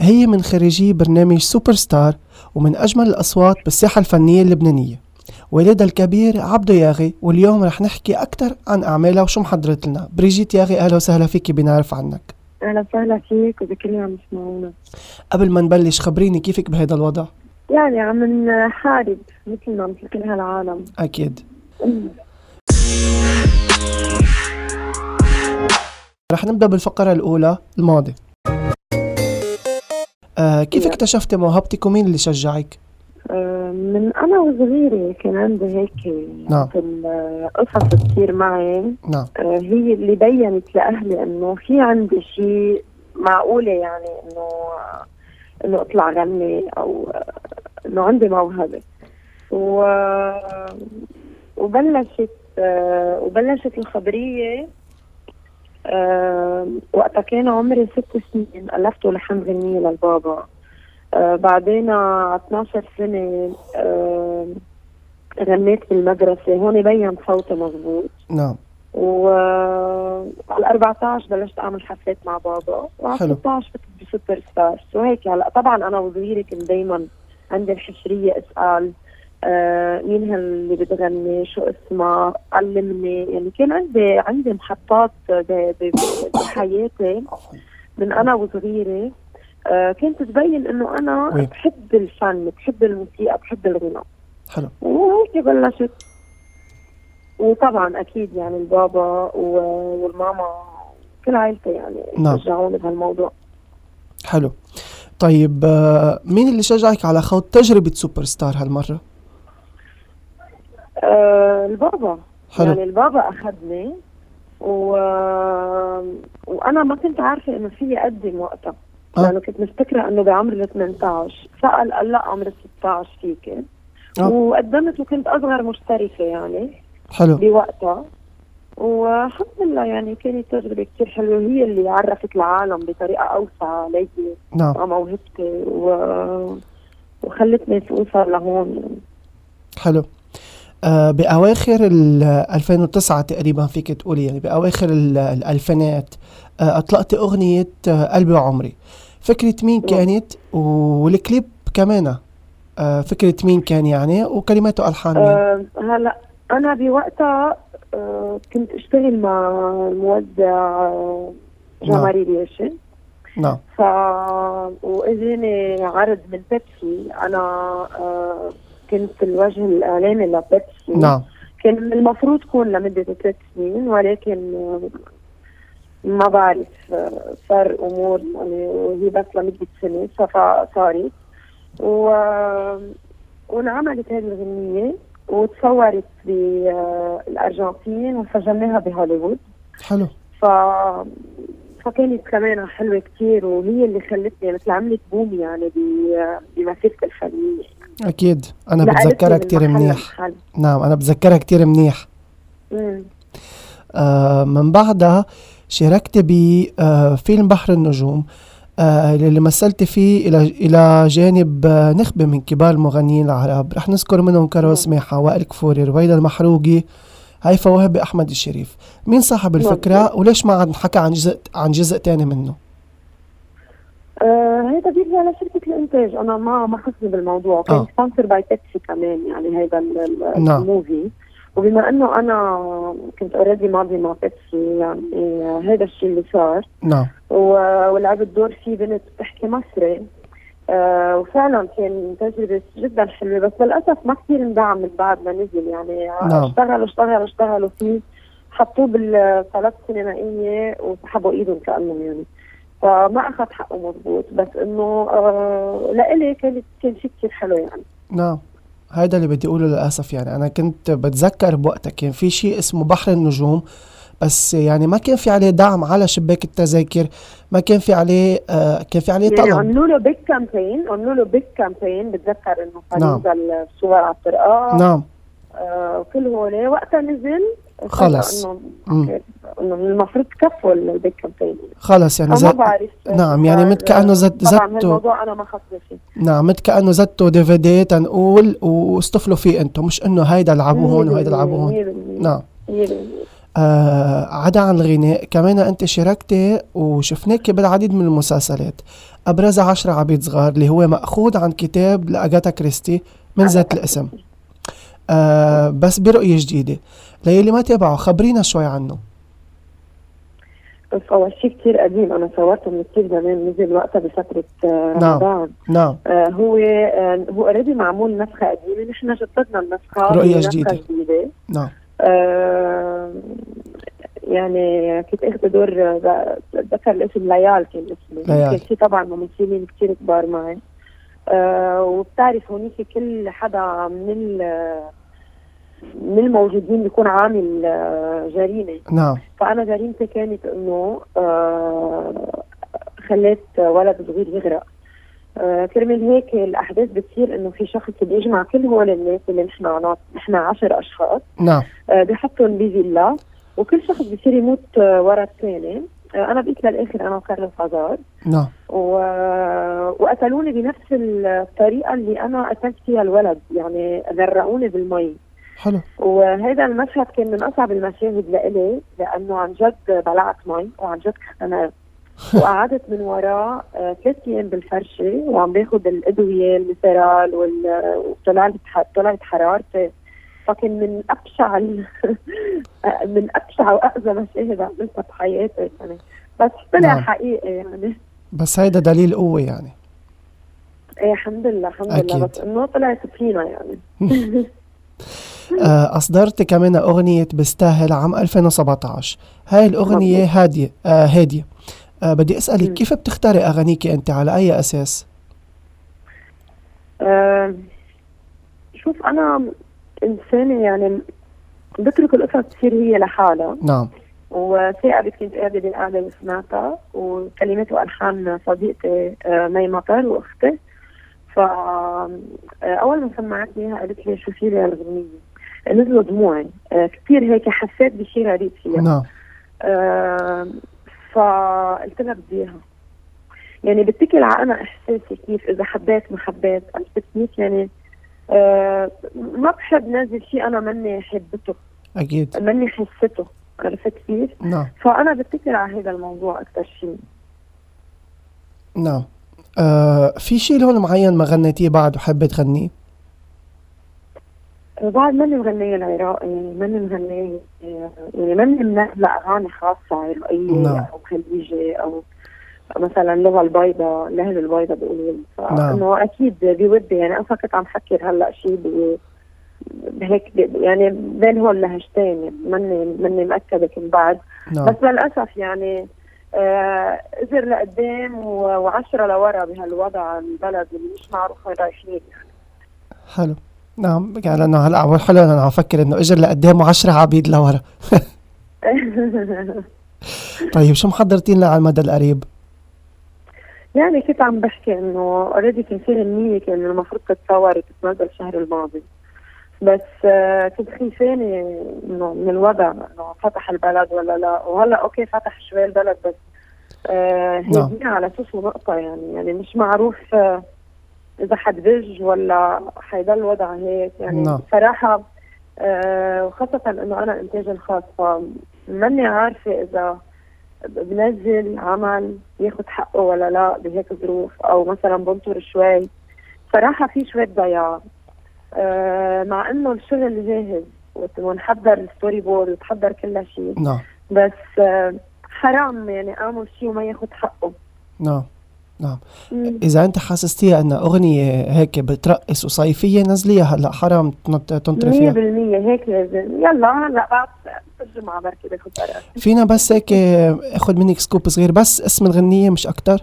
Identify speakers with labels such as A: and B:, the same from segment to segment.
A: هي من خريجي برنامج سوبر ستار ومن أجمل الأصوات بالساحة الفنية اللبنانية والدها الكبير عبدو ياغي واليوم رح نحكي أكثر عن أعمالها وشو محضرت لنا بريجيت ياغي أهلا وسهلا فيكي بنعرف عنك
B: اهلا وسهلا فيك وبكل اللي عم يسمعونا
A: قبل ما نبلش خبريني كيفك بهذا الوضع
B: يعني عم نحارب مثلنا مثل كل هالعالم
A: أكيد رح نبدأ بالفقرة الأولى الماضي آه كيف
B: نعم.
A: اكتشفتي موهبتك ومين اللي شجعك؟
B: آه، من انا وصغيره كان عندي هيك
A: نعم.
B: مثل آه، قصص كثير معي
A: نعم
B: آه، هي اللي بينت لاهلي انه في عندي شيء معقوله يعني انه انه اطلع غني او آه، انه عندي موهبه و وبلشت آه، وبلشت الخبريه آه، وقتها كان عمري ست سنين ألفته لحن غنية للبابا آه، بعدين على 12 سنة آه، غنيت بالمدرسة هون بين صوتي مضبوط
A: نعم
B: وعلى 14 بلشت اعمل حفلات مع بابا وعلى
A: حلو.
B: 16 كنت بسوبر ستار سو هيك هلا طبعا انا وصغيره كنت دائما عندي الحشريه اسال آه مين هاللي بتغني شو اسمها علمني يعني كان عندي عندي محطات ب- ب- بحياتي من انا وصغيره آه كانت تبين انه انا
A: وي.
B: بحب الفن بحب الموسيقى بحب الغناء
A: حلو
B: وهيك بلشت وطبعا اكيد يعني البابا و- والماما كل عائلتي يعني
A: نعم.
B: شجعوني بهالموضوع
A: حلو طيب آه، مين اللي شجعك على خوض تجربة سوبر ستار هالمرة؟
B: آه البابا
A: حلو
B: يعني البابا اخذني و... وانا ما كنت عارفه انه في اقدم وقتها
A: آه.
B: لانه كنت مفتكره انه بعمر ال 18 سال قال لا عمر ال 16 فيك
A: آه.
B: وقدمت وكنت اصغر مشتركه يعني
A: حلو
B: بوقتها والحمد لله يعني كانت تجربة كتير حلوة هي اللي عرفت العالم بطريقة أوسع علي
A: نعم
B: مع موهبتي و... وخلتني أوصل لهون يعني.
A: حلو آه بأواخر ال 2009 تقريبا فيك تقولي يعني بأواخر ال- الألفينات آه أطلقت أغنية آه قلبي وعمري فكرة مين كانت والكليب كمان آه فكرة مين كان يعني وكلماته ألحان مين
B: أه هلا أنا بوقتها أه كنت أشتغل مع الموزع آه، جماري بياشي
A: نعم
B: ف واجاني عرض من بيبسي انا أه كنت الوجه الاعلامي لبيبسي
A: نعم
B: كان من المفروض تكون لمدة ثلاث سنين ولكن آه، ما بعرف آه، صار أمور يعني وهي بس لمدة سنة فف- صارت و... وانعملت هذه الغنية وتصورت بالأرجنتين وسجلناها بهوليوود
A: حلو
B: ف... فكانت كمان حلوة كتير وهي اللي خلتني مثل عملت بوم يعني ب- بمسيرتي الفنية
A: أكيد أنا
B: نقلتني
A: بتذكرها
B: من
A: كتير
B: محل
A: منيح
B: لمحل.
A: نعم أنا بتذكرها كتير منيح
B: مم.
A: آه، من بعدها شاركت بفيلم بحر النجوم آه، اللي مثلت فيه إلى إلى جانب آه، نخبة من كبار المغنيين العرب رح نذكر منهم كارول
B: نعم.
A: سماحة وائل كفوري رويدا المحروقي هيفا وهبي أحمد الشريف مين صاحب
B: نعم.
A: الفكرة وليش ما عاد نحكى عن جزء عن جزء تاني منه
B: آه، هيدا بيرجع لشركة الإنتاج أنا ما ما خصني بالموضوع
A: آه.
B: كان سبونسر باي بيبسي كمان يعني هيدا ال- ال-
A: نعم.
B: الموفي وبما إنه أنا كنت أوريدي ماضي مع بيبسي يعني آه، هيدا الشيء اللي صار
A: نعم
B: و- ولعبت دور في بنت بتحكي مصري آه وفعلا كان تجربة جدا حلوة بس للأسف ما كثير اندعم من بعد ما نزل يعني
A: نعم.
B: اشتغلوا اشتغلوا اشتغلوا فيه حطوه بالصالات السينمائية وسحبوا ايدهم كأنهم يعني فما أخذ حقه مضبوط بس إنه آه لإلي كانت كان شيء كثير حلو يعني
A: نعم هيدا اللي بدي اقوله للاسف يعني انا كنت بتذكر بوقتها كان في شيء اسمه بحر النجوم بس يعني ما كان في عليه دعم على شباك التذاكر ما كان في عليه آه كان في عليه
B: يعني
A: طلب
B: عملوا له بيج كامبين عملوا له بيج كامبين بتذكر إنه كان
A: نعم.
B: نزل الصور على الطرقات
A: نعم
B: آه، وكل هول وقتها نزل
A: خلص.
B: إنه-
A: مم.
B: انه المفروض كفوا البيك كامبين
A: خلص يعني
B: ما
A: زت
B: بعرف
A: نعم، يعني مت كأنه زت-
B: طبعا
A: زتوا.
B: هالموضوع انا ما خصني فيه
A: نعم مثل كانه زتوا دي في دي تنقول واصطفلوا فيه انتم مش انه هيدا العبوا هون وهيدا العبوا هون
B: نعم
A: نعم آه عدا عن الغناء كمان انت شاركتي وشفناك بالعديد من المسلسلات ابرزها عشرة عبيد صغار اللي هو ماخوذ عن كتاب لاغاتا كريستي من ذات الاسم آه بس برؤيه جديده ليلي ما تابعه خبرينا شوي عنه
B: بس اول شيء كثير قديم انا صورته من كثير زمان نزل وقتها بفتره آه،
A: نعم.
B: رمضان
A: نعم
B: آه، هو آه، هو اوريدي معمول نسخه قديمه نحن جددنا النسخه
A: رؤية
B: هي نسخة
A: جديدة.
B: جديده
A: نعم
B: آه، يعني كنت اخذ دور آه، بتذكر الاسم ليال كان اسمه
A: ليال.
B: كان في طبعا ممثلين كثير كبار معي آه وبتعرف هونيك كل حدا من ال- من الموجودين بيكون عامل آه، جريمه
A: نعم
B: فانا جريمتي كانت انه آه خليت ولد صغير يغرق آه كرمال هيك الاحداث بتصير انه في شخص بيجمع كل هول الناس اللي نحن عناصر نحن 10 اشخاص
A: نعم
B: آه، بحطهم بفيلا وكل شخص بصير يموت آه، ورا الثاني آه، انا بقيت للاخر انا وكارلوس عزار
A: نعم
B: و... وقتلوني بنفس الطريقه اللي انا قتلت فيها الولد يعني غرقوني بالمي
A: حلو
B: وهذا المشهد كان من اصعب المشاهد لإلي لانه عن جد بلعت مي وعن جد اختنقت وقعدت من وراه آه، ثلاث ايام بالفرشه وعم باخذ الادويه الميثرال وال- وطلعت ح- طلعت حرارتي فكان من ابشع ال- من ابشع واقذى مشاهد عملتها بحياتي يعني بس طلع
A: نعم.
B: حقيقي يعني
A: بس هيدا دليل قوه يعني
B: ايه الحمد لله الحمد لله
A: أكيد.
B: بس انه طلعت فينا يعني
A: آه، أصدرت كمان أغنية بستاهل عام 2017 هاي الأغنية
B: مظبوط.
A: هادية آه هادية آه بدي أسألك
B: مم.
A: كيف بتختاري أغانيك أنت على أي أساس؟
B: آه، شوف انا انسانه يعني بترك القصص تصير هي لحالها
A: نعم
B: وثائبت كنت قاعده بالقعده وسمعتها وكلمات والحان صديقتي آه، مي مطر واختي ف آه، اول ما سمعتني إياها قالت لي شو في لي هالغنيه نزلوا دموعي آه، كثير هيك حسيت بشيء غريب فيها
A: نعم
B: آه، فقلت لها بدي اياها يعني بتكل على انا احساسي كيف اذا حبيت ما حبيت انا كيف يعني آه ما بحب نازل شيء انا ماني حبته
A: أكيد
B: ماني حسته عرفت كيف؟
A: نعم
B: فانا بتكل على هذا الموضوع اكثر شيء
A: نعم آه في شي لون معين ما غنيتيه بعد وحابة تغنيه؟
B: بعد ماني مغنية العراقي ماني مغنية يعني ماني منزلة أغاني خاصة عراقية
A: نعم.
B: أو خليجي أو مثلا اللغة البيضاء الأهل البيضاء بيقولوا لي.
A: نعم.
B: فإنه أكيد بودي يعني أنا كنت عم فكر هلا شيء ب- بهيك ب- يعني بين هول لهجتين ماني ماني مأكدة كم بعد
A: نعم
B: بس للأسف يعني آه، إزر لقدام و- وعشرة لورا بهالوضع البلد اللي مش معروفة رايحين
A: حلو نعم يعني لأنه هلا أول حلو أنا عم فكر إنه إجر لقدام وعشرة عبيد لورا طيب شو محضرتي لنا على المدى القريب؟
B: يعني كنت عم بحكي انه اوريدي كان في غنية كان المفروض تتصور وتتنزل الشهر الماضي بس آه، كنت خيفانة انه من الوضع انه فتح البلد ولا لا وهلا اوكي فتح شوي البلد بس آه، هي
A: نعم.
B: هي على شو شو نقطة يعني يعني مش معروف آه، اذا حتبج ولا حيضل الوضع هيك يعني
A: نعم.
B: بصراحة آه، وخاصة انه انا انتاجي الخاص فماني عارفة اذا بنزل عمل ياخد حقه ولا لا بهيك ظروف او مثلا بنطر شوي صراحه في شويه ضياع آه مع انه الشغل جاهز وت- ونحضر الستوري بورد وتحضر كل شيء
A: نعم
B: بس آه حرام يعني اعمل شيء وما ياخد حقه
A: نعم
B: مم.
A: إذا أنت حسستيها أن أغنية هيك بترقص وصيفية نزليها هلا حرام تنط- تنطري فيها
B: 100% هيك لازم يلا هلا بعد الجمعه بركي باخذ قرار
A: فينا بس هيك اخد منك سكوب صغير بس اسم الغنية مش اكتر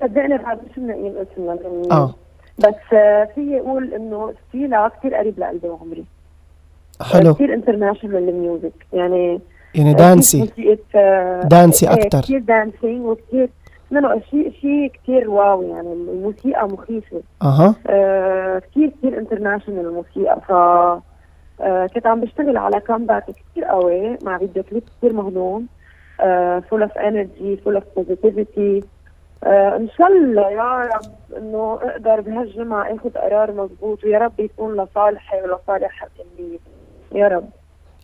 B: صدقني بعد مش منقيين اسمنا لأنه-
A: اه
B: بس آه فيي اقول انه ستيلا كثير قريب لقلبي وعمري
A: حلو
B: كثير انترناشونال الميوزك يعني
A: يعني
B: كتير
A: دانسي
B: موسيقى، آه،
A: دانسي
B: إيه،
A: اكتر
B: كتير دانسينج وكثير منه شيء شيء كثير واو يعني الموسيقى مخيفه
A: اها
B: آه كثير كثير انترناشونال الموسيقى ف آه كنت عم بشتغل على كامباك كثير قوي مع فيديو كليب كثير مهضوم آه، فول اوف انرجي فول اوف بوزيتيفيتي ان آه، شاء الله يا رب انه اقدر بهالجمعه اخذ قرار مضبوط ويا رب يكون لصالحي ولصالح اللي يا رب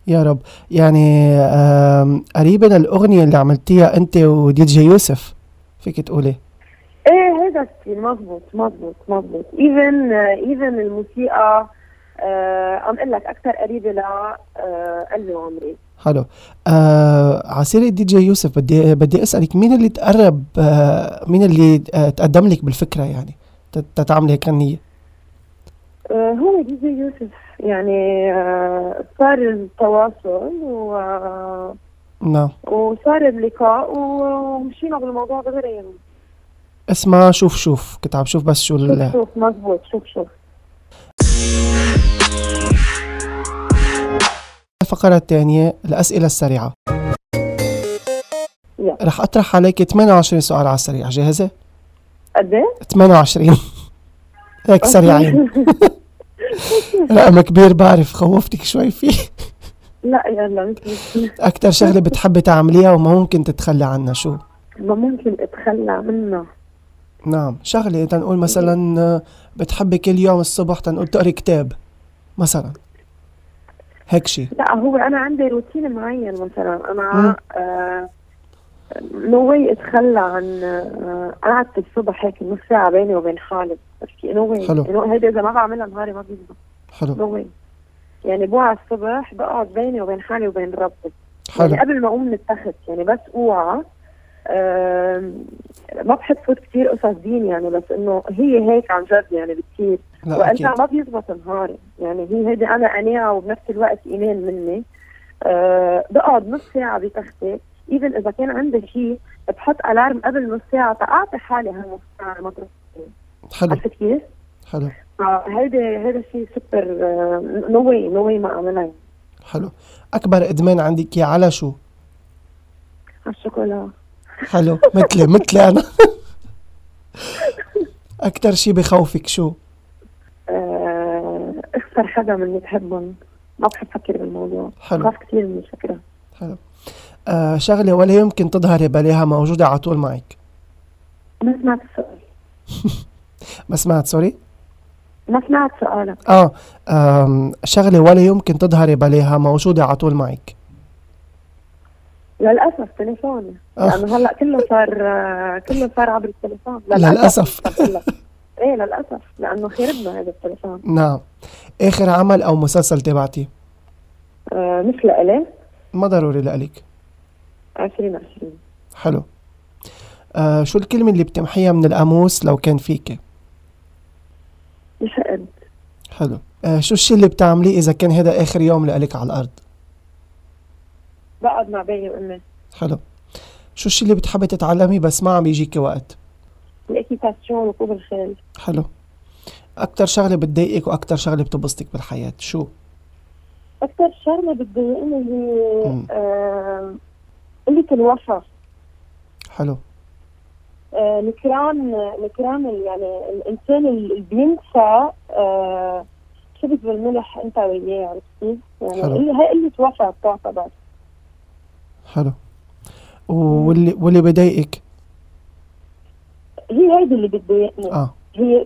A: يا رب يعني آم، قريبا الأغنية اللي عملتيها أنت ودي جي يوسف فيك تقولي
B: ايه هذا الشيء مضبوط مضبوط مضبوط ايفن ايفن الموسيقى آه، عم اقول لك اكثر قريبه ل آه، قلبي وعمري
A: حلو آه عسيرة دي جي يوسف بدي بدي أسألك مين اللي تقرب آه مين اللي آه تقدم لك بالفكرة يعني تت- تتعاملي هيك غنية
B: آه، هو دي جي يوسف يعني آه، صار التواصل و آه،
A: نعم
B: وصار اللقاء و- ومشينا بالموضوع دغري يعني
A: اسمها شوف شوف كنت عم شوف بس شو
B: شوف
A: ال-
B: شوف مضبوط شوف شوف
A: الفقرة الثانية الأسئلة السريعة
B: يلا.
A: رح أطرح عليك 28 سؤال على السريع جاهزة؟
B: قد ايه؟
A: 28 هيك سريعين رقم كبير بعرف خوفتك شوي فيه
B: لا يلا مش مشكلة.
A: أكتر شغلة بتحبي تعمليها وما ممكن تتخلى عنها شو؟
B: ما ممكن اتخلى منه
A: نعم شغلة تنقول مثلا آه، بتحبي كل يوم الصبح تنقول تقري كتاب مثلا هيك شي
B: لا هو انا عندي روتين معين مثلا
A: مم.
B: انا آه نو واي اتخلى عن آه قعدة الصبح هيك نص ساعة بيني وبين حالي بحكي نو واي
A: حلو.
B: نو هيدا اذا ما بعملها نهاري ما بيزبط
A: حلو
B: نو واي يعني بوعى الصبح بقعد بيني وبين حالي وبين ربي
A: حلو
B: يعني قبل ما اقوم من التخت يعني بس اوعى آم، ما بحب فوت كثير قصص دين يعني بس انه هي هيك عن جد يعني بتصير
A: لا أكيد
B: وقتها ما بيزبط نهاري يعني هي هيدي انا قناعه وبنفس الوقت ايمان مني أه بقعد نص ساعه بتختي ايفن اذا كان عندي شيء بحط الارم قبل نص ساعه تعطي حالي هالنص ساعه ما تروح
A: حلو
B: عرفت كيف؟
A: حلو
B: فهيدي هيدا آه، الشيء سوبر نو واي نو واي ما اعملها يعني
A: حلو أكبر إدمان عندك يا على شو؟
B: على الشوكولا
A: حلو مثلي مثلي أنا أكتر شي بخوفك شو؟
B: آه، اخسر حدا من اللي بحبهم ما بحب افكر بالموضوع
A: حلو
B: بخاف كثير من الفكره
A: حلو آه شغلة ولا يمكن تظهري بلاها موجودة على طول معك
B: ما سمعت السؤال
A: ما سمعت سوري؟
B: ما سمعت سؤالك
A: آه آم، شغلة ولا يمكن تظهري بلاها موجودة على طول معك
B: للاسف تليفوني
A: آه.
B: لانه هلا كله صار آه، كله صار عبر التليفون
A: للأسف.
B: كله. ايه للاسف لانه خربنا هذا التليفون
A: نعم آخر عمل أو مسلسل تبعتي
B: آه، مثل الي
A: ما ضروري لألك
B: 2020
A: حلو آه شو الكلمة اللي بتمحيها من القاموس لو كان فيك
B: الحقد
A: حلو آه شو الشي اللي بتعمليه إذا كان هذا آخر يوم لألك على الأرض
B: بقعد مع بيي وامي
A: حلو شو الشي اللي بتحبي تتعلمي بس ما عم يجيكي وقت
B: الاكيتاسيون ركوب الخيل
A: حلو أكتر شغلة بتضايقك وأكتر شغلة بتبسطك بالحياة شو؟
B: اكثر شغله بتضايقني هي
A: مم.
B: آه، قله الوفا
A: حلو
B: آه، نكران نكران ال- يعني الانسان اللي بينسى آه، شبك بالملح انت وياه عرفت كيف؟ يعني
A: حلو.
B: قل- هي قله وفا بتعتبر
A: حلو واللي واللي بضايقك
B: هي هيدي اللي بتضايقني
A: اه
B: هي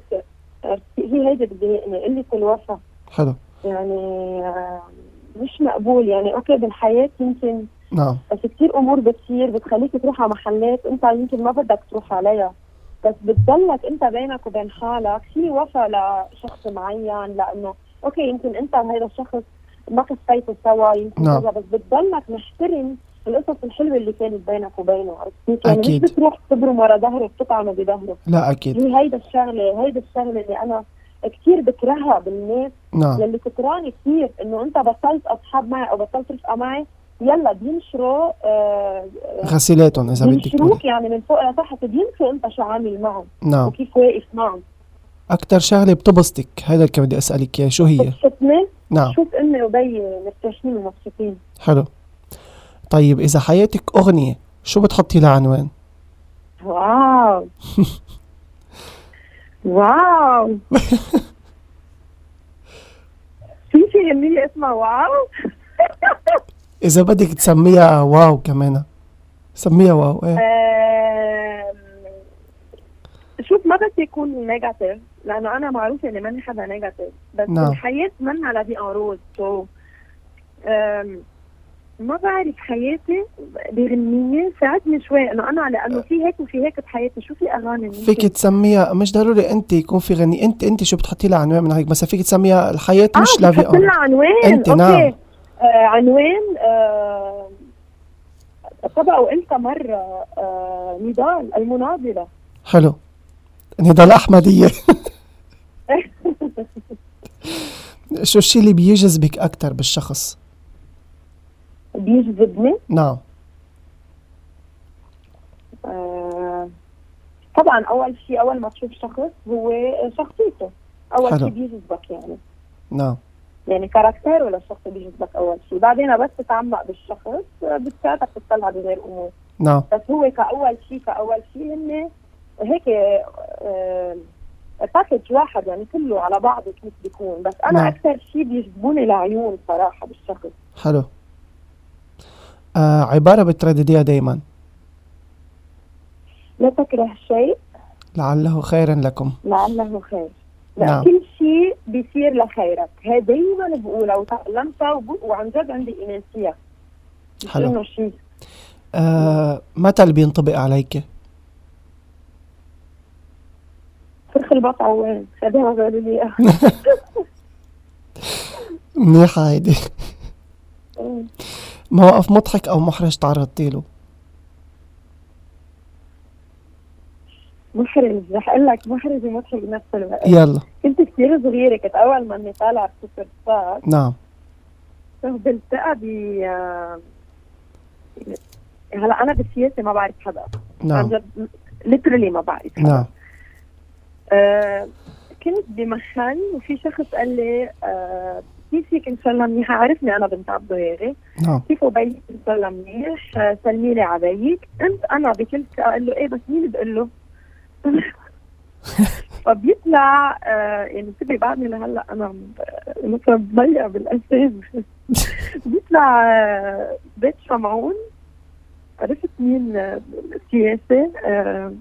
B: هي هيدي بتضايقني قله الوفا
A: حلو
B: يعني آه، مش مقبول يعني اوكي بالحياه يمكن
A: نعم
B: بس كثير امور بتصير بتخليك تروح على محلات انت يمكن ما بدك تروح عليها بس بتضلك انت بينك وبين حالك في وفا لشخص معين لانه اوكي يمكن انت وهذا الشخص ما كفيتوا سوا يمكن
A: نعم.
B: كذا بس بتضلك محترم القصص الحلوه اللي كانت بينك وبينه عرفت كيف؟ يعني
A: أكيد.
B: مش بتروح تبرم ورا ظهره بتطعنه بظهره
A: لا اكيد
B: هي هيدا الشغله هيدا الشغله اللي انا كثير بكرهها بالناس
A: نعم
B: يلي كتراني كثير انه انت بطلت اصحاب معي او بطلت رفقه معي يلا بينشروا آه، آه،
A: غسيلاتهم اذا بدك تقولي.
B: بينشروك يعني من فوق لتحت بينشروا انت شو عامل معهم
A: نعم
B: وكيف واقف معهم
A: اكثر شغله بتبسطك هذا اللي كان بدي اسالك اياه شو هي
B: بتشوفني
A: نعم
B: شوف امي وبي مرتاحين ومبسوطين
A: حلو طيب اذا حياتك اغنيه شو بتحطي لها عنوان
B: واو واو في شيء غنية اسمها واو
A: اذا بدك تسميها واو كمان سميها واو ايه
B: آم، شوف ما بس يكون نيجاتيف لانه انا معروفه اني ماني حدا نيجاتيف بس
A: نعم.
B: no. الحياه منا على دي روز سو ما بعرف حياتي بغنية ساعدني شوي انه انا لانه في هيك وفي هيك بحياتي شو في اغاني ممكن آه،
A: فيك تسميها مش ضروري انت يكون في غني انت انت شو بتحطي لها عنوان من هيك مثلا فيك تسميها الحياه
B: آه،
A: مش لافي
B: بتحط لنا
A: امر
B: عنوان
A: أنت،
B: أوكي.
A: نعم.
B: آه عنوان آه طبعا وانت مره آه نضال المناضله
A: حلو يعني نضال احمديه شو الشيء اللي بيجذبك اكثر بالشخص
B: بيجذبني
A: نعم
B: آه، طبعا اول شيء اول ما تشوف شخص هو شخصيته اول
A: حلو.
B: شيء بيجذبك يعني
A: نعم
B: يعني كاركتيره للشخص بيجذبك اول شيء بعدين بس تتعمق بالشخص آه، بتساعدك تطلع بغير امور
A: نعم
B: بس هو كاول شيء كاول شيء هن هيك آه، باكج واحد يعني كله على بعضه كيف بيكون بس
A: نعم.
B: انا اكثر شيء بيجذبوني العيون صراحه بالشخص
A: حلو آه عباره بتردديها دائما
B: لا تكره شيء
A: لعله خيرا لكم
B: لعله خير لا
A: نعم.
B: نعم. كل شيء بيصير لخيرك هي دايما بقولها وتعلمتها وب- وعن جد عندي ايمان فيها مش
A: حلو.
B: انه شيء
A: آه متى بينطبق عليك
B: فرخ البط عوان خدها قالوا لي إياها.
A: نعم. منيحه هيدي موقف مضحك او محرج تعرضتي له
B: محرج رح اقول لك محرج ومضحك بنفس الوقت
A: يلا
B: كنت كثير صغيره كنت اول ما اني طالعه سوبر ستار
A: نعم
B: كنت بلتقى ب آه، هلا انا بالسياسه ما بعرف حدا عن
A: نعم
B: جد ليترلي ما بعرف حدا
A: نعم
B: آه، كنت بمحل وفي شخص قال لي آه، كيف فيك ان شاء الله منيحه عرفني انا بنت عبد غيري
A: نعم
B: كيف بيك ان شاء الله منيح آه، سلمي لي على بيك قمت انا بكل ثقه اقول له ايه بس مين بقول له فبيطلع آه، يعني تبي بعدني آه، لهلا انا ب- مثلا ضيقه بالاساس بيطلع آه، بيت شمعون عرفت مين آه، سياسي آه،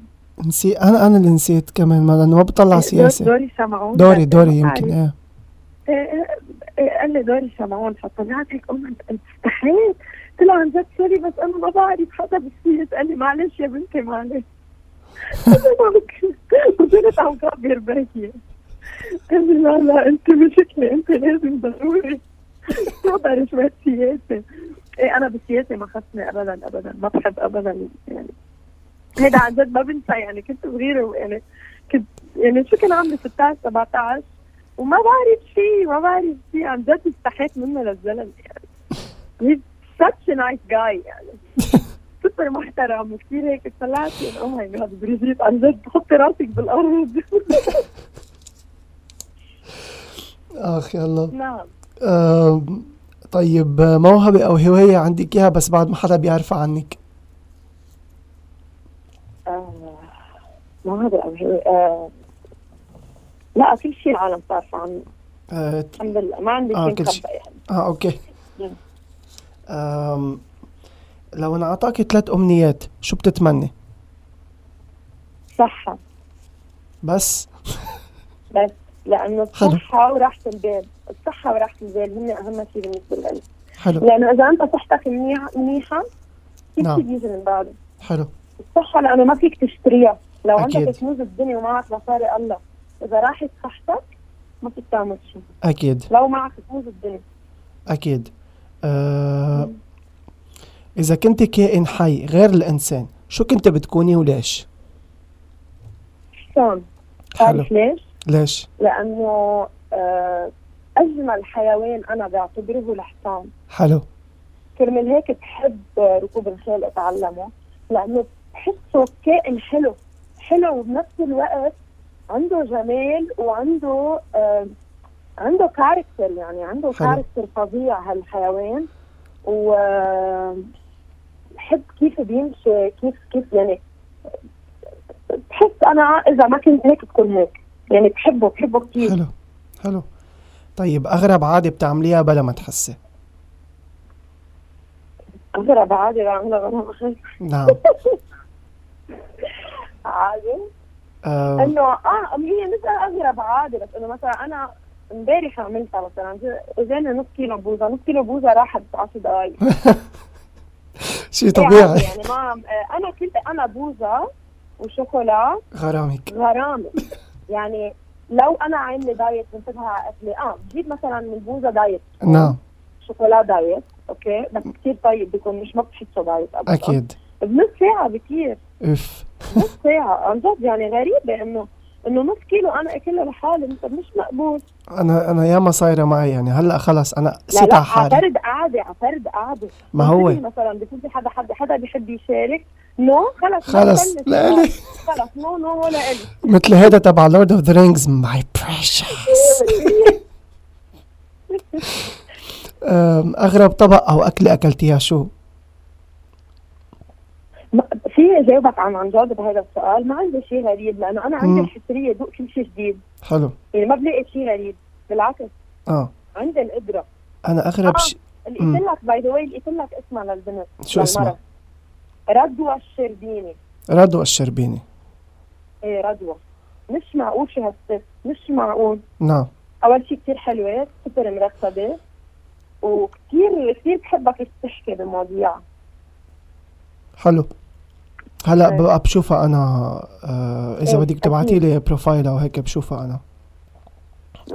A: نسي انا انا اللي نسيت كمان ما لانه ما بطلع سياسه
B: دوري شمعون آه،
A: دوري دوري يمكن ايه
B: قال لي دوري شمعون فطلعت هيك قمت قلت استحيت قلت له عن جد سوري بس انا ما بعرف حدا بالسيس قال لي معلش يا بنتي معلش قلت له ما بك- وصرت عم كبر باكية قال لي لا لا انت مشكلة انت لازم ضروري تقدر شوية سياسة ايه انا بالسياسة ما خصني ابدا ابدا ما بحب ابدا يعني هيدا عن جد ما بنسى يعني كنت صغيرة ويعني كنت يعني شو كان عمري 16 17 وما بعرف شيء ما بعرف شيء عن جد استحيت منه للزلمه يعني He's such a nice guy يعني سوبر محترم وكثير هيك Oh طلعت او ماي جاد بريجيت عن جد حطي راسك بالارض
A: اخ يلا
B: نعم
A: آم، طيب آه، موهبه او هوايه عندك اياها بس بعد ما حدا بيعرفها عنك
B: آه، ما هذا أو هو- آه، لا كل شيء العالم صارفه عن
A: آه ت-
B: الحمد لله ما عندي
A: آه،
B: شيء
A: كل شيء.
B: مخبأ يعني
A: اه اوكي آم لو انعطاكي ثلاث امنيات شو بتتمني
B: صحه
A: بس
B: بس لانه
A: حلو.
B: الصحه وراحه البال الصحه وراحه البال هن اهم شيء بالنسبه لي
A: حلو
B: لانه اذا انت صحتك منيح- منيحه كل
A: نعم.
B: شيء بيجي من بعده
A: حلو
B: الصحه لانه ما فيك تشتريها لو
A: أكيد.
B: عندك كنوز الدنيا ومعك مصاري الله اذا راحت صحتك ما فيك تعمل شيء
A: اكيد
B: لو معك كنوز الدنيا
A: اكيد آه اذا كنت كائن حي غير الانسان شو كنت بتكوني وليش
B: حصان
A: حلو
B: تعرف ليش؟
A: ليش
B: لانه آه، اجمل حيوان انا بعتبره هو الحصان
A: حلو
B: كرمال هيك بحب ركوب الخيل اتعلمه لانه بحسه كائن حلو حلو وبنفس الوقت عنده جمال وعنده آه عنده كاركتر يعني عنده
A: حلو.
B: كاركتر فظيع هالحيوان و آه، بحب كيف بيمشي كيف كيف يعني بحس انا اذا ما كنت هيك بكون هيك يعني بحبه بحبه كثير
A: حلو حلو طيب اغرب عاده بتعمليها بلا ما تحسي
B: أغرب عادي بعملها وأنا بخاف
A: نعم
B: عادي
A: آه
B: انه اه هي مش اغرب عاده بس انه مثلا انا امبارح عملتها مثلا وزنها نص كيلو بوزه نص كيلو بوزه راحت ب 10 دقائق
A: شيء
B: عادي
A: طبيعي
B: يعني ما آه، انا كنت انا بوزه وشوكولا
A: غرامك
B: غرامه يعني لو انا عامله دايت بنتبه على اكلي اه بجيب مثلا من بوزه دايت
A: نعم
B: شوكولا دايت اوكي بس كثير طيب بيكون مش ما بتحسه دايت ابدا
A: اكيد
B: بنص ساعه بكثير
A: اف
B: نص ساعه عن جد يعني غريبه انه انه نص كيلو انا اكله لحالي انت مش مقبول
A: انا انا ياما صايره معي يعني هلا خلص انا
B: لا
A: قسيت
B: لا
A: على حالي
B: عفرد قاعدة عفرد قاعدة
A: ما هو
B: بتصير مثلا بتجي حدا حدا حدا بيحب يشارك نو خلص
A: خلص لا لا
B: خلص نو نو ولا إلي
A: مثل هذا تبع لورد اوف ذا رينجز ماي بريشس اغرب طبق او اكله اكلتيها شو؟
B: ما- في جاوبك عن عن جد بهذا السؤال ما عندي شيء غريب لأنه أنا عندي
A: مم.
B: الحسرية ذوق كل شيء جديد
A: حلو
B: يعني ما بلاقي شيء غريب بالعكس
A: اه
B: عندي القدرة
A: انا اغرب
B: آه.
A: شيء
B: لقيت لك باي ذا واي لقيت لك اسمها للبنت
A: شو اسمها؟
B: للمرة. ردوى الشربيني
A: رضوى الشربيني
B: ايه ردوى مش معقول شو هالست مش معقول
A: نعم
B: اول شيء كثير حلوه سوبر مرتبه وكثير كثير بحبها كيف تحكي بمواضيع
A: حلو هلا
B: إيه.
A: بقى بشوفها انا آه اذا
B: إيه،
A: بدك تبعتي
B: أكيد.
A: لي بروفايلها وهيك بشوفها انا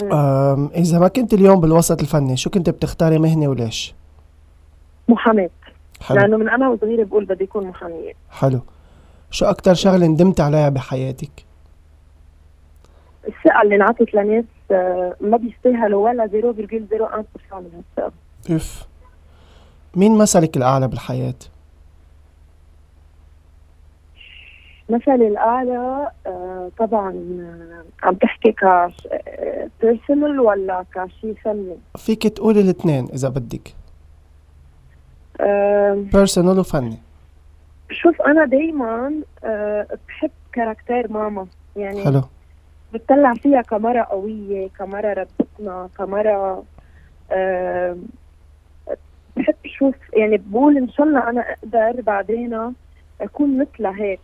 B: مم.
A: آم اذا ما كنت اليوم بالوسط الفني شو كنت بتختاري مهنه وليش
B: محاماه
A: حلو
B: لانه من انا وصغيره بقول بدي اكون محاميه
A: حلو شو اكتر شغله ندمت عليها بحياتك
B: الثقه اللي انعطت لناس آه، ما بيستاهلوا ولا 0.01% من الثقه
A: اف مين مثلك الاعلى بالحياه
B: مثل الاعلى آه، طبعا آه، عم تحكي ك بيرسونال ولا كشيء فني
A: فيك تقولي الاثنين اذا بدك
B: آه،
A: بيرسونال وفني
B: شوف انا دائما بحب كاركتير ماما يعني
A: حلو
B: بتطلع فيها كمرة قوية كمرة ربتنا كمرة آه، بحب شوف يعني بقول ان شاء الله انا اقدر بعدين اكون مثلها هيك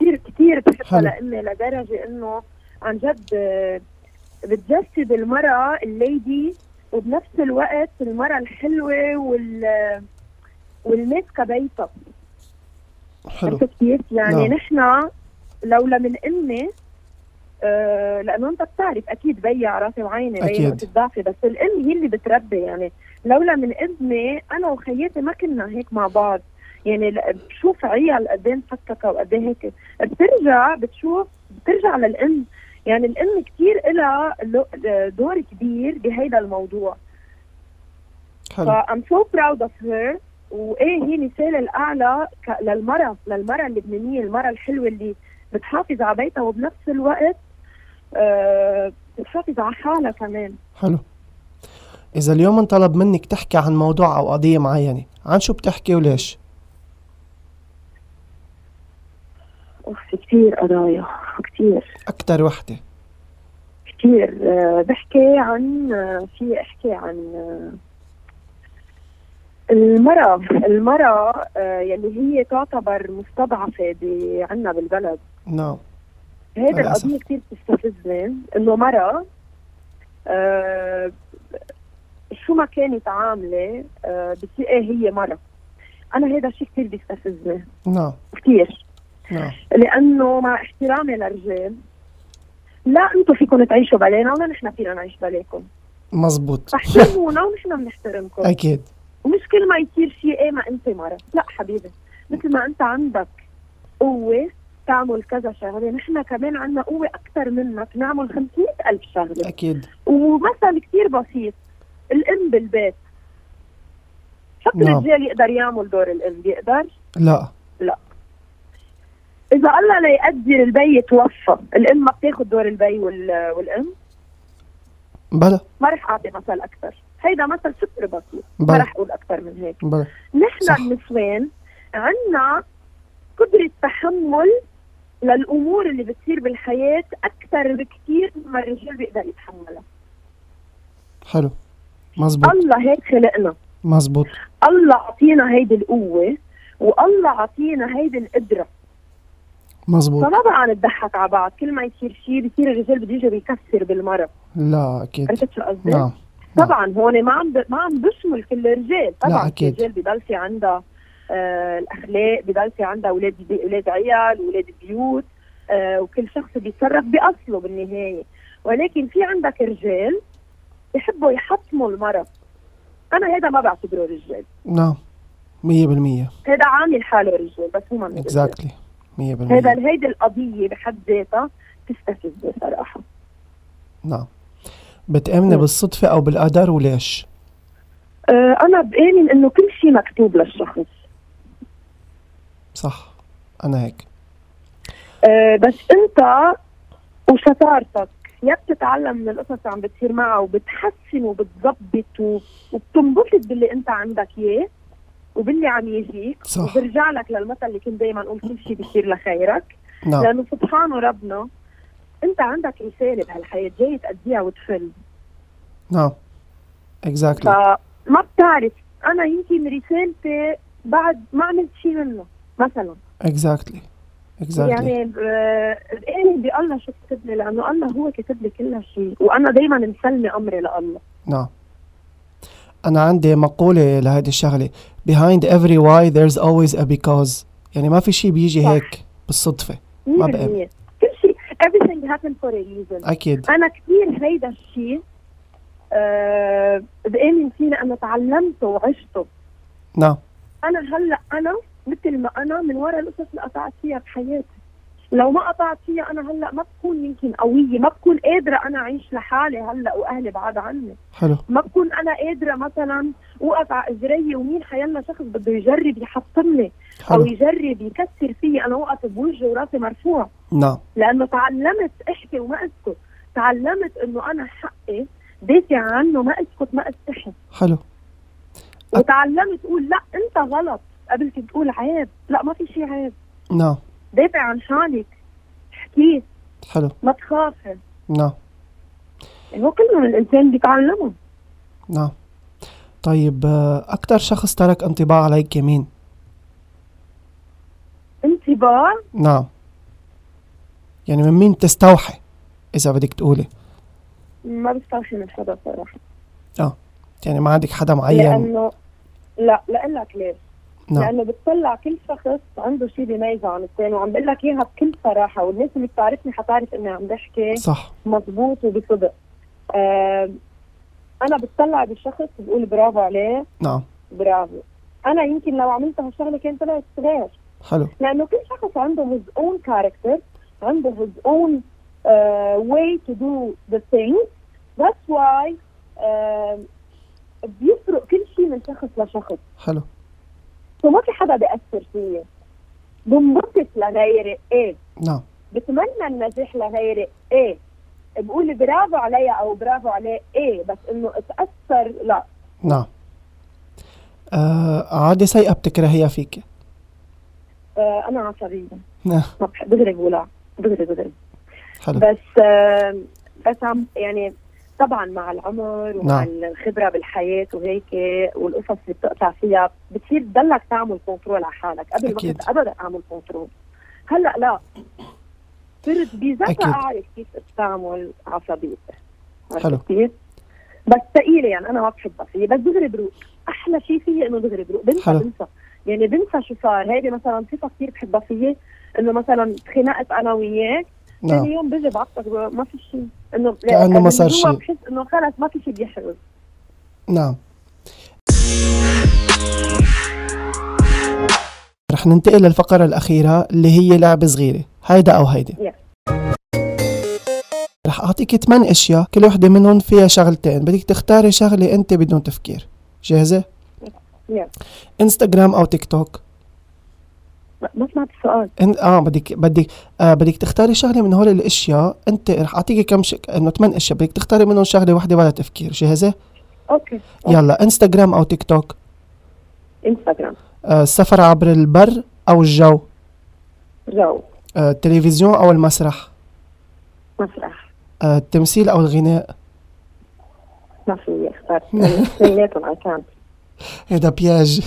B: كثير كثير بحبها
A: حلو.
B: لامي لدرجة انه عن جد آه، بتجسد المرأة الليدي وبنفس الوقت المرأة الحلوة وال والماسكة بيتها
A: حلو
B: عرفت كيف؟ يعني
A: نعم.
B: نحن لولا من امي آه لانه انت بتعرف اكيد بيي على راسي وعيني بيي
A: أكيد.
B: وقت الضعف بس الام هي اللي بتربي يعني لولا من امي انا وخياتي ما كنا هيك مع بعض يعني ل- بشوف عيال قد ايه مفككه وقد ايه هيك بترجع بتشوف بترجع للام يعني الام كثير لها آه، دور كبير بهيدا الموضوع ف
A: حلو
B: I'm so proud of her وايه هي مثال الاعلى ك- للمراه للمراه اللبنانيه المراه الحلوه اللي بتحافظ على بيتها وبنفس الوقت آه بتحافظ على حالها كمان
A: حلو اذا اليوم انطلب منك تحكي عن موضوع او قضيه معينه عن شو بتحكي وليش
B: اوف في كثير قضايا كثير
A: اكتر وحده
B: كثير آه بحكي عن آه في احكي عن آه المرأة المرأة آه يلي هي تعتبر مستضعفة ب- عنا بالبلد
A: نعم
B: هيدا
A: للأسف.
B: القضية كثير بتستفزني انه مرة آه شو ما كانت عاملة آه بتلاقي هي مرة انا هيدا الشيء كثير بيستفزني
A: نعم
B: كثير
A: نعم
B: لانه مع احترامي للرجال لا انتم فيكم تعيشوا بلانا ولا نحن فينا نعيش بلاكم
A: مزبوط
B: فاحترمونا ونحن بنحترمكم
A: اكيد
B: ومش كل ما يصير شيء ايه ما انت مرض لا حبيبي مثل ما انت عندك قوه تعمل كذا شغله نحن كمان عندنا قوه اكثر منك نعمل 500 الف شغله
A: اكيد
B: ومثل كثير بسيط الام بالبيت حتى
A: نعم.
B: الرجال يقدر يعمل دور الام بيقدر
A: لا
B: اذا الله لا يقدر البي توفى الام ما بتاخذ دور البي وال- والام
A: بلا
B: ما رح اعطي مثل اكثر هيدا مثل سوبر بسيط ما
A: بلا
B: رح اقول اكثر من هيك
A: بلا
B: نحن
A: صح.
B: النسوان عنا قدرة تحمل للأمور اللي بتصير بالحياة أكثر بكثير مما الرجال بيقدر يتحملها
A: حلو مزبوط
B: الله هيك خلقنا
A: مزبوط
B: الله أعطينا هيدي القوة والله أعطينا هيدي القدرة
A: مزبوط
B: فما بقى نتضحك على بعض كل ما يصير شيء بصير الرجال بده يجي بيكسر بالمرة
A: لا اكيد
B: عرفت شو قصدي؟
A: نعم نعم.
B: طبعا آه. هون ما عم ب... ما عم بشمل كل الرجال
A: لا،
B: طبعا
A: أكيد.
B: الرجال بضل في عندها آه الاخلاق بضل في عندها اولاد بي... اولاد عيال اولاد بيوت آه وكل شخص بيتصرف باصله بالنهايه ولكن في عندك رجال بحبوا يحطموا المرأة انا هذا ما بعتبره رجال
A: نعم 100%
B: هذا عامل حاله رجال بس هو ما من رجال.
A: اكزاكتلي 100%
B: هذا هيدي القضيه بحد ذاتها تستفز صراحه
A: نعم بتآمني
B: مم.
A: بالصدفة أو بالقدر وليش؟
B: آه انا بامن انه كل شيء مكتوب للشخص
A: صح أنا هيك
B: آه، بس انت وشطارتك يا بتتعلم من القصص اللي عم بتصير معها وبتحسن وبتظبط و- وبتنبسط باللي انت عندك اياه وباللي عم يجيك
A: صح
B: وبرجع لك للمثل اللي كنت دائما اقول كل شيء بيصير لخيرك
A: نعم
B: لانه سبحانه ربنا انت عندك رساله بهالحياه جاي تأديها وتفل
A: نعم اكزاكتلي
B: نعم. فما بتعرف انا يمكن رسالتي بعد ما عملت شيء منه مثلا
A: اكزاكتلي اكزاكتلي
B: يعني آه، بآمن بالله شو كتب لي لانه الله هو كتب لي كل شيء وانا دائما مسلمه امري لله
A: نعم أنا عندي مقولة لهيدي الشغلة behind every why there's always a because يعني ما في شي بيجي
B: صح.
A: هيك بالصدفة
B: 100%
A: ما بآمن.
B: كل شيء everything happened for a reason
A: أكيد
B: انا كثير هيدا الشيء آه، بآمن فيه لانه تعلمته وعشته
A: نعم
B: انا هلا انا مثل ما انا من وراء القصص اللي قطعت فيها بحياتي لو ما قطعت فيها انا هلا ما بكون يمكن قويه ما بكون قادره انا اعيش لحالي هلا واهلي بعاد عني
A: حلو
B: ما بكون انا قادره مثلا اوقف على اجري ومين حيلا شخص بده يجرب يحطمني او
A: حلو
B: يجرب يكسر فيي انا اوقف بوجهي وراسي مرفوع
A: نعم
B: لانه تعلمت احكي وما اسكت تعلمت انه انا حقي دافع عنه ما اسكت ما استحي
A: حلو أك-
B: وتعلمت اقول لا انت غلط قبل كنت تقول عيب لا ما في شيء عيب
A: نعم
B: دافع عن حالك احكيه
A: حلو
B: ما تخافي يعني
A: نعم
B: هو كلهم الانسان بيتعلمه
A: نعم طيب أكثر شخص ترك انطباع عليك مين؟
B: انطباع
A: نعم يعني من مين تستوحي إذا بدك تقولي
B: ما بستوحي من حدا صراحه
A: يعني ما عندك حدا معين
B: لانه لا لأقول لك ليش؟
A: نعم
B: لانه بتطلع كل شخص عنده شيء بيميزه عن الثاني وعم بقول لك اياها بكل صراحه والناس اللي بتعرفني حتعرف اني عم بحكي
A: صح
B: مضبوط وبصدق. آه انا بتطلع بالشخص بقول برافو عليه
A: نعم
B: برافو. انا يمكن لو عملت هالشغله كان طلعت غير
A: حلو
B: لانه كل شخص عنده his own character عنده his own uh, way to do the thing that's why uh, بيفرق كل شيء من شخص لشخص
A: حلو
B: وما في حدا بيأثر فيي بنبسط لغيري ايه
A: نعم
B: بتمنى النجاح لغيري ايه بقول برافو عليا او برافو عليه ايه بس انه اتأثر لا
A: نعم آه عادة سيئة بتكرهيها فيك
B: آه انا عصبية
A: نعم
B: ما بحب- دغري بولع دغري دغري
A: حلو
B: بس آه، بس عم يعني طبعا مع العمر ومع
A: نعم.
B: الخبره بالحياه وهيك والقصص اللي بتقطع فيها بتصير تضلك تعمل كنترول على حالك قبل ما
A: أكيد.
B: كنت ابدا اعمل كنترول هلا لا صرت بذكاء
A: أكيد.
B: اعرف كيف استعمل عصبيتي عرفت
A: حلو.
B: كيف؟ بس ثقيله يعني انا ما بحبها فيي بس دغري بروق احلى شيء فيي انه دغري بروق بنسى
A: حلو.
B: بنسى يعني بنسى شو صار هيدي مثلا صفه كثير بحبها فيي انه مثلا تخنقت انا وياك
A: نعم
B: ثاني يوم بيجي بعطك ما في شيء انه
A: كأنه ما
B: من
A: صار
B: جوا
A: شيء.
B: بحس انه خلص ما في شيء بيحرز
A: نعم رح ننتقل للفقرة الأخيرة اللي هي لعبة صغيرة هيدا أو هيدي
B: Yeah.
A: رح أعطيك ثمان أشياء كل وحدة منهم فيها شغلتين بدك تختاري شغلة أنت بدون تفكير جاهزة؟
B: Yeah.
A: انستغرام أو تيك توك
B: ما- ما سمعت السؤال
A: إن... اه بدك بدك آه بدك تختاري شغله من هول الاشياء انت رح اعطيكي كم ش... انه ثمان اشياء بدك تختاري منهم شغله واحده بلا تفكير جاهزه
B: اوكي
A: يلا انستغرام او تيك توك
B: انستغرام
A: آه السفر عبر البر او الجو
B: جو
A: آه التلفزيون او المسرح
B: مسرح
A: آه التمثيل او الغناء
B: ما فيي اخترت يعني اثنيناتهم اي كانت
A: هيدا إيه بياج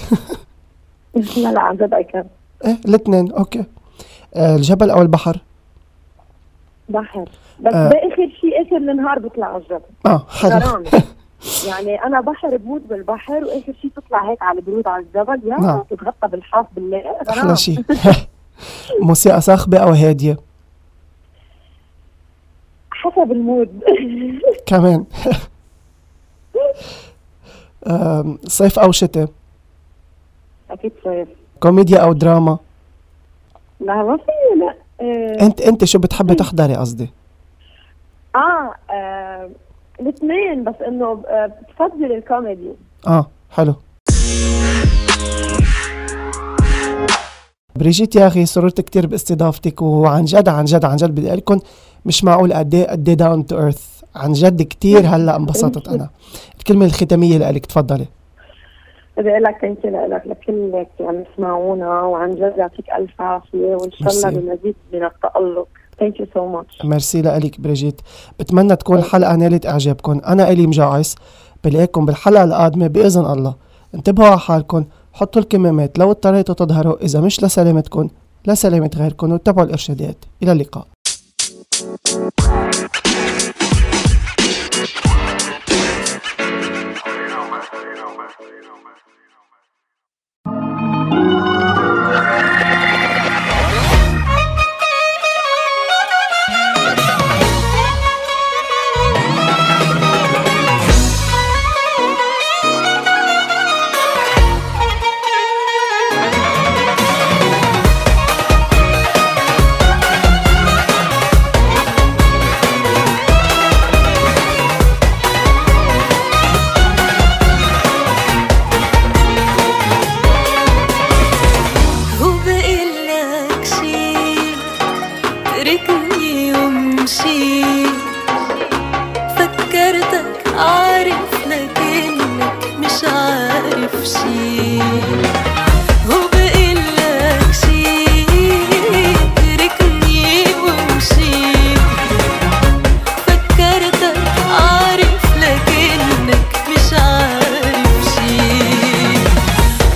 B: لا لا عن جد اي كانت
A: ايه الاثنين اوكي آه، الجبل او البحر
B: بحر بس
A: آه.
B: باخر شيء اخر النهار بطلع على الجبل
A: اه حلو
B: غرام يعني انا بحر بموت بالبحر واخر شيء تطلع هيك على البرود على الجبل
A: نعم.
B: يا تتغطى بالحاف بالله غرام
A: احلى شيء موسيقى صاخبه او هاديه
B: حسب المود
A: كمان آم، صيف او شتاء
B: اكيد صيف
A: كوميديا او دراما
B: لا ما في لا آه،
A: انت انت شو بتحبي تحضري قصدي
B: اه, آه. الاثنين بس انه آه، بتفضل الكوميدي
A: اه حلو بريجيت يا اخي سررت كثير باستضافتك وعن جد عن جد عن جد بدي اقول لكم مش معقول قد ايه قد ايه داون تو ايرث عن جد كثير هلا انبسطت انا الكلمه الختاميه لك تفضلي
B: بدي اقول لك ثانك يو لك لكلك عم يسمعونا وعن جد يعطيك الف عافيه وان شاء الله
A: ميرسي.
B: بمزيد من التالق ثانك يو سو ماتش
A: ميرسي لك بريجيت بتمنى تكون الحلقه نالت اعجابكم انا الي مجعس بلاقيكم بالحلقه القادمه باذن الله انتبهوا على حالكم حطوا الكمامات لو اضطريتوا تظهروا اذا مش لسلامتكم لسلامه غيركم واتبعوا الارشادات الى اللقاء
C: هو بقلك شي تركني وامشي فكرتك عارف لكنك مش عارف شي هو بقلك شي تركني وامشي فكرتك عارف لكنك مش عارف شي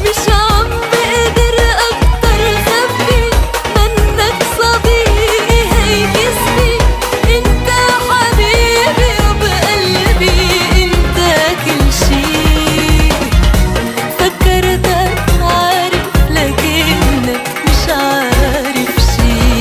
C: مش عم بقدر اكتر خبي منك صديقي هي كسبي انت حبيبي وبقلبي انت كل شي فكرتك عارف لكنك مش عارف شي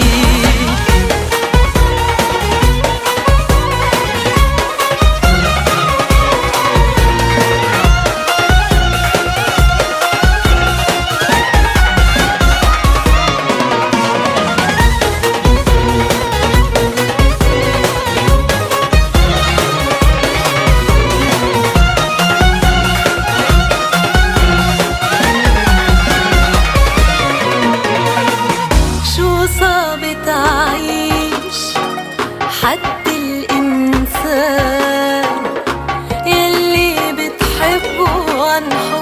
C: شو صعب تعيش حد الإنسان يلي بتحبه عن حب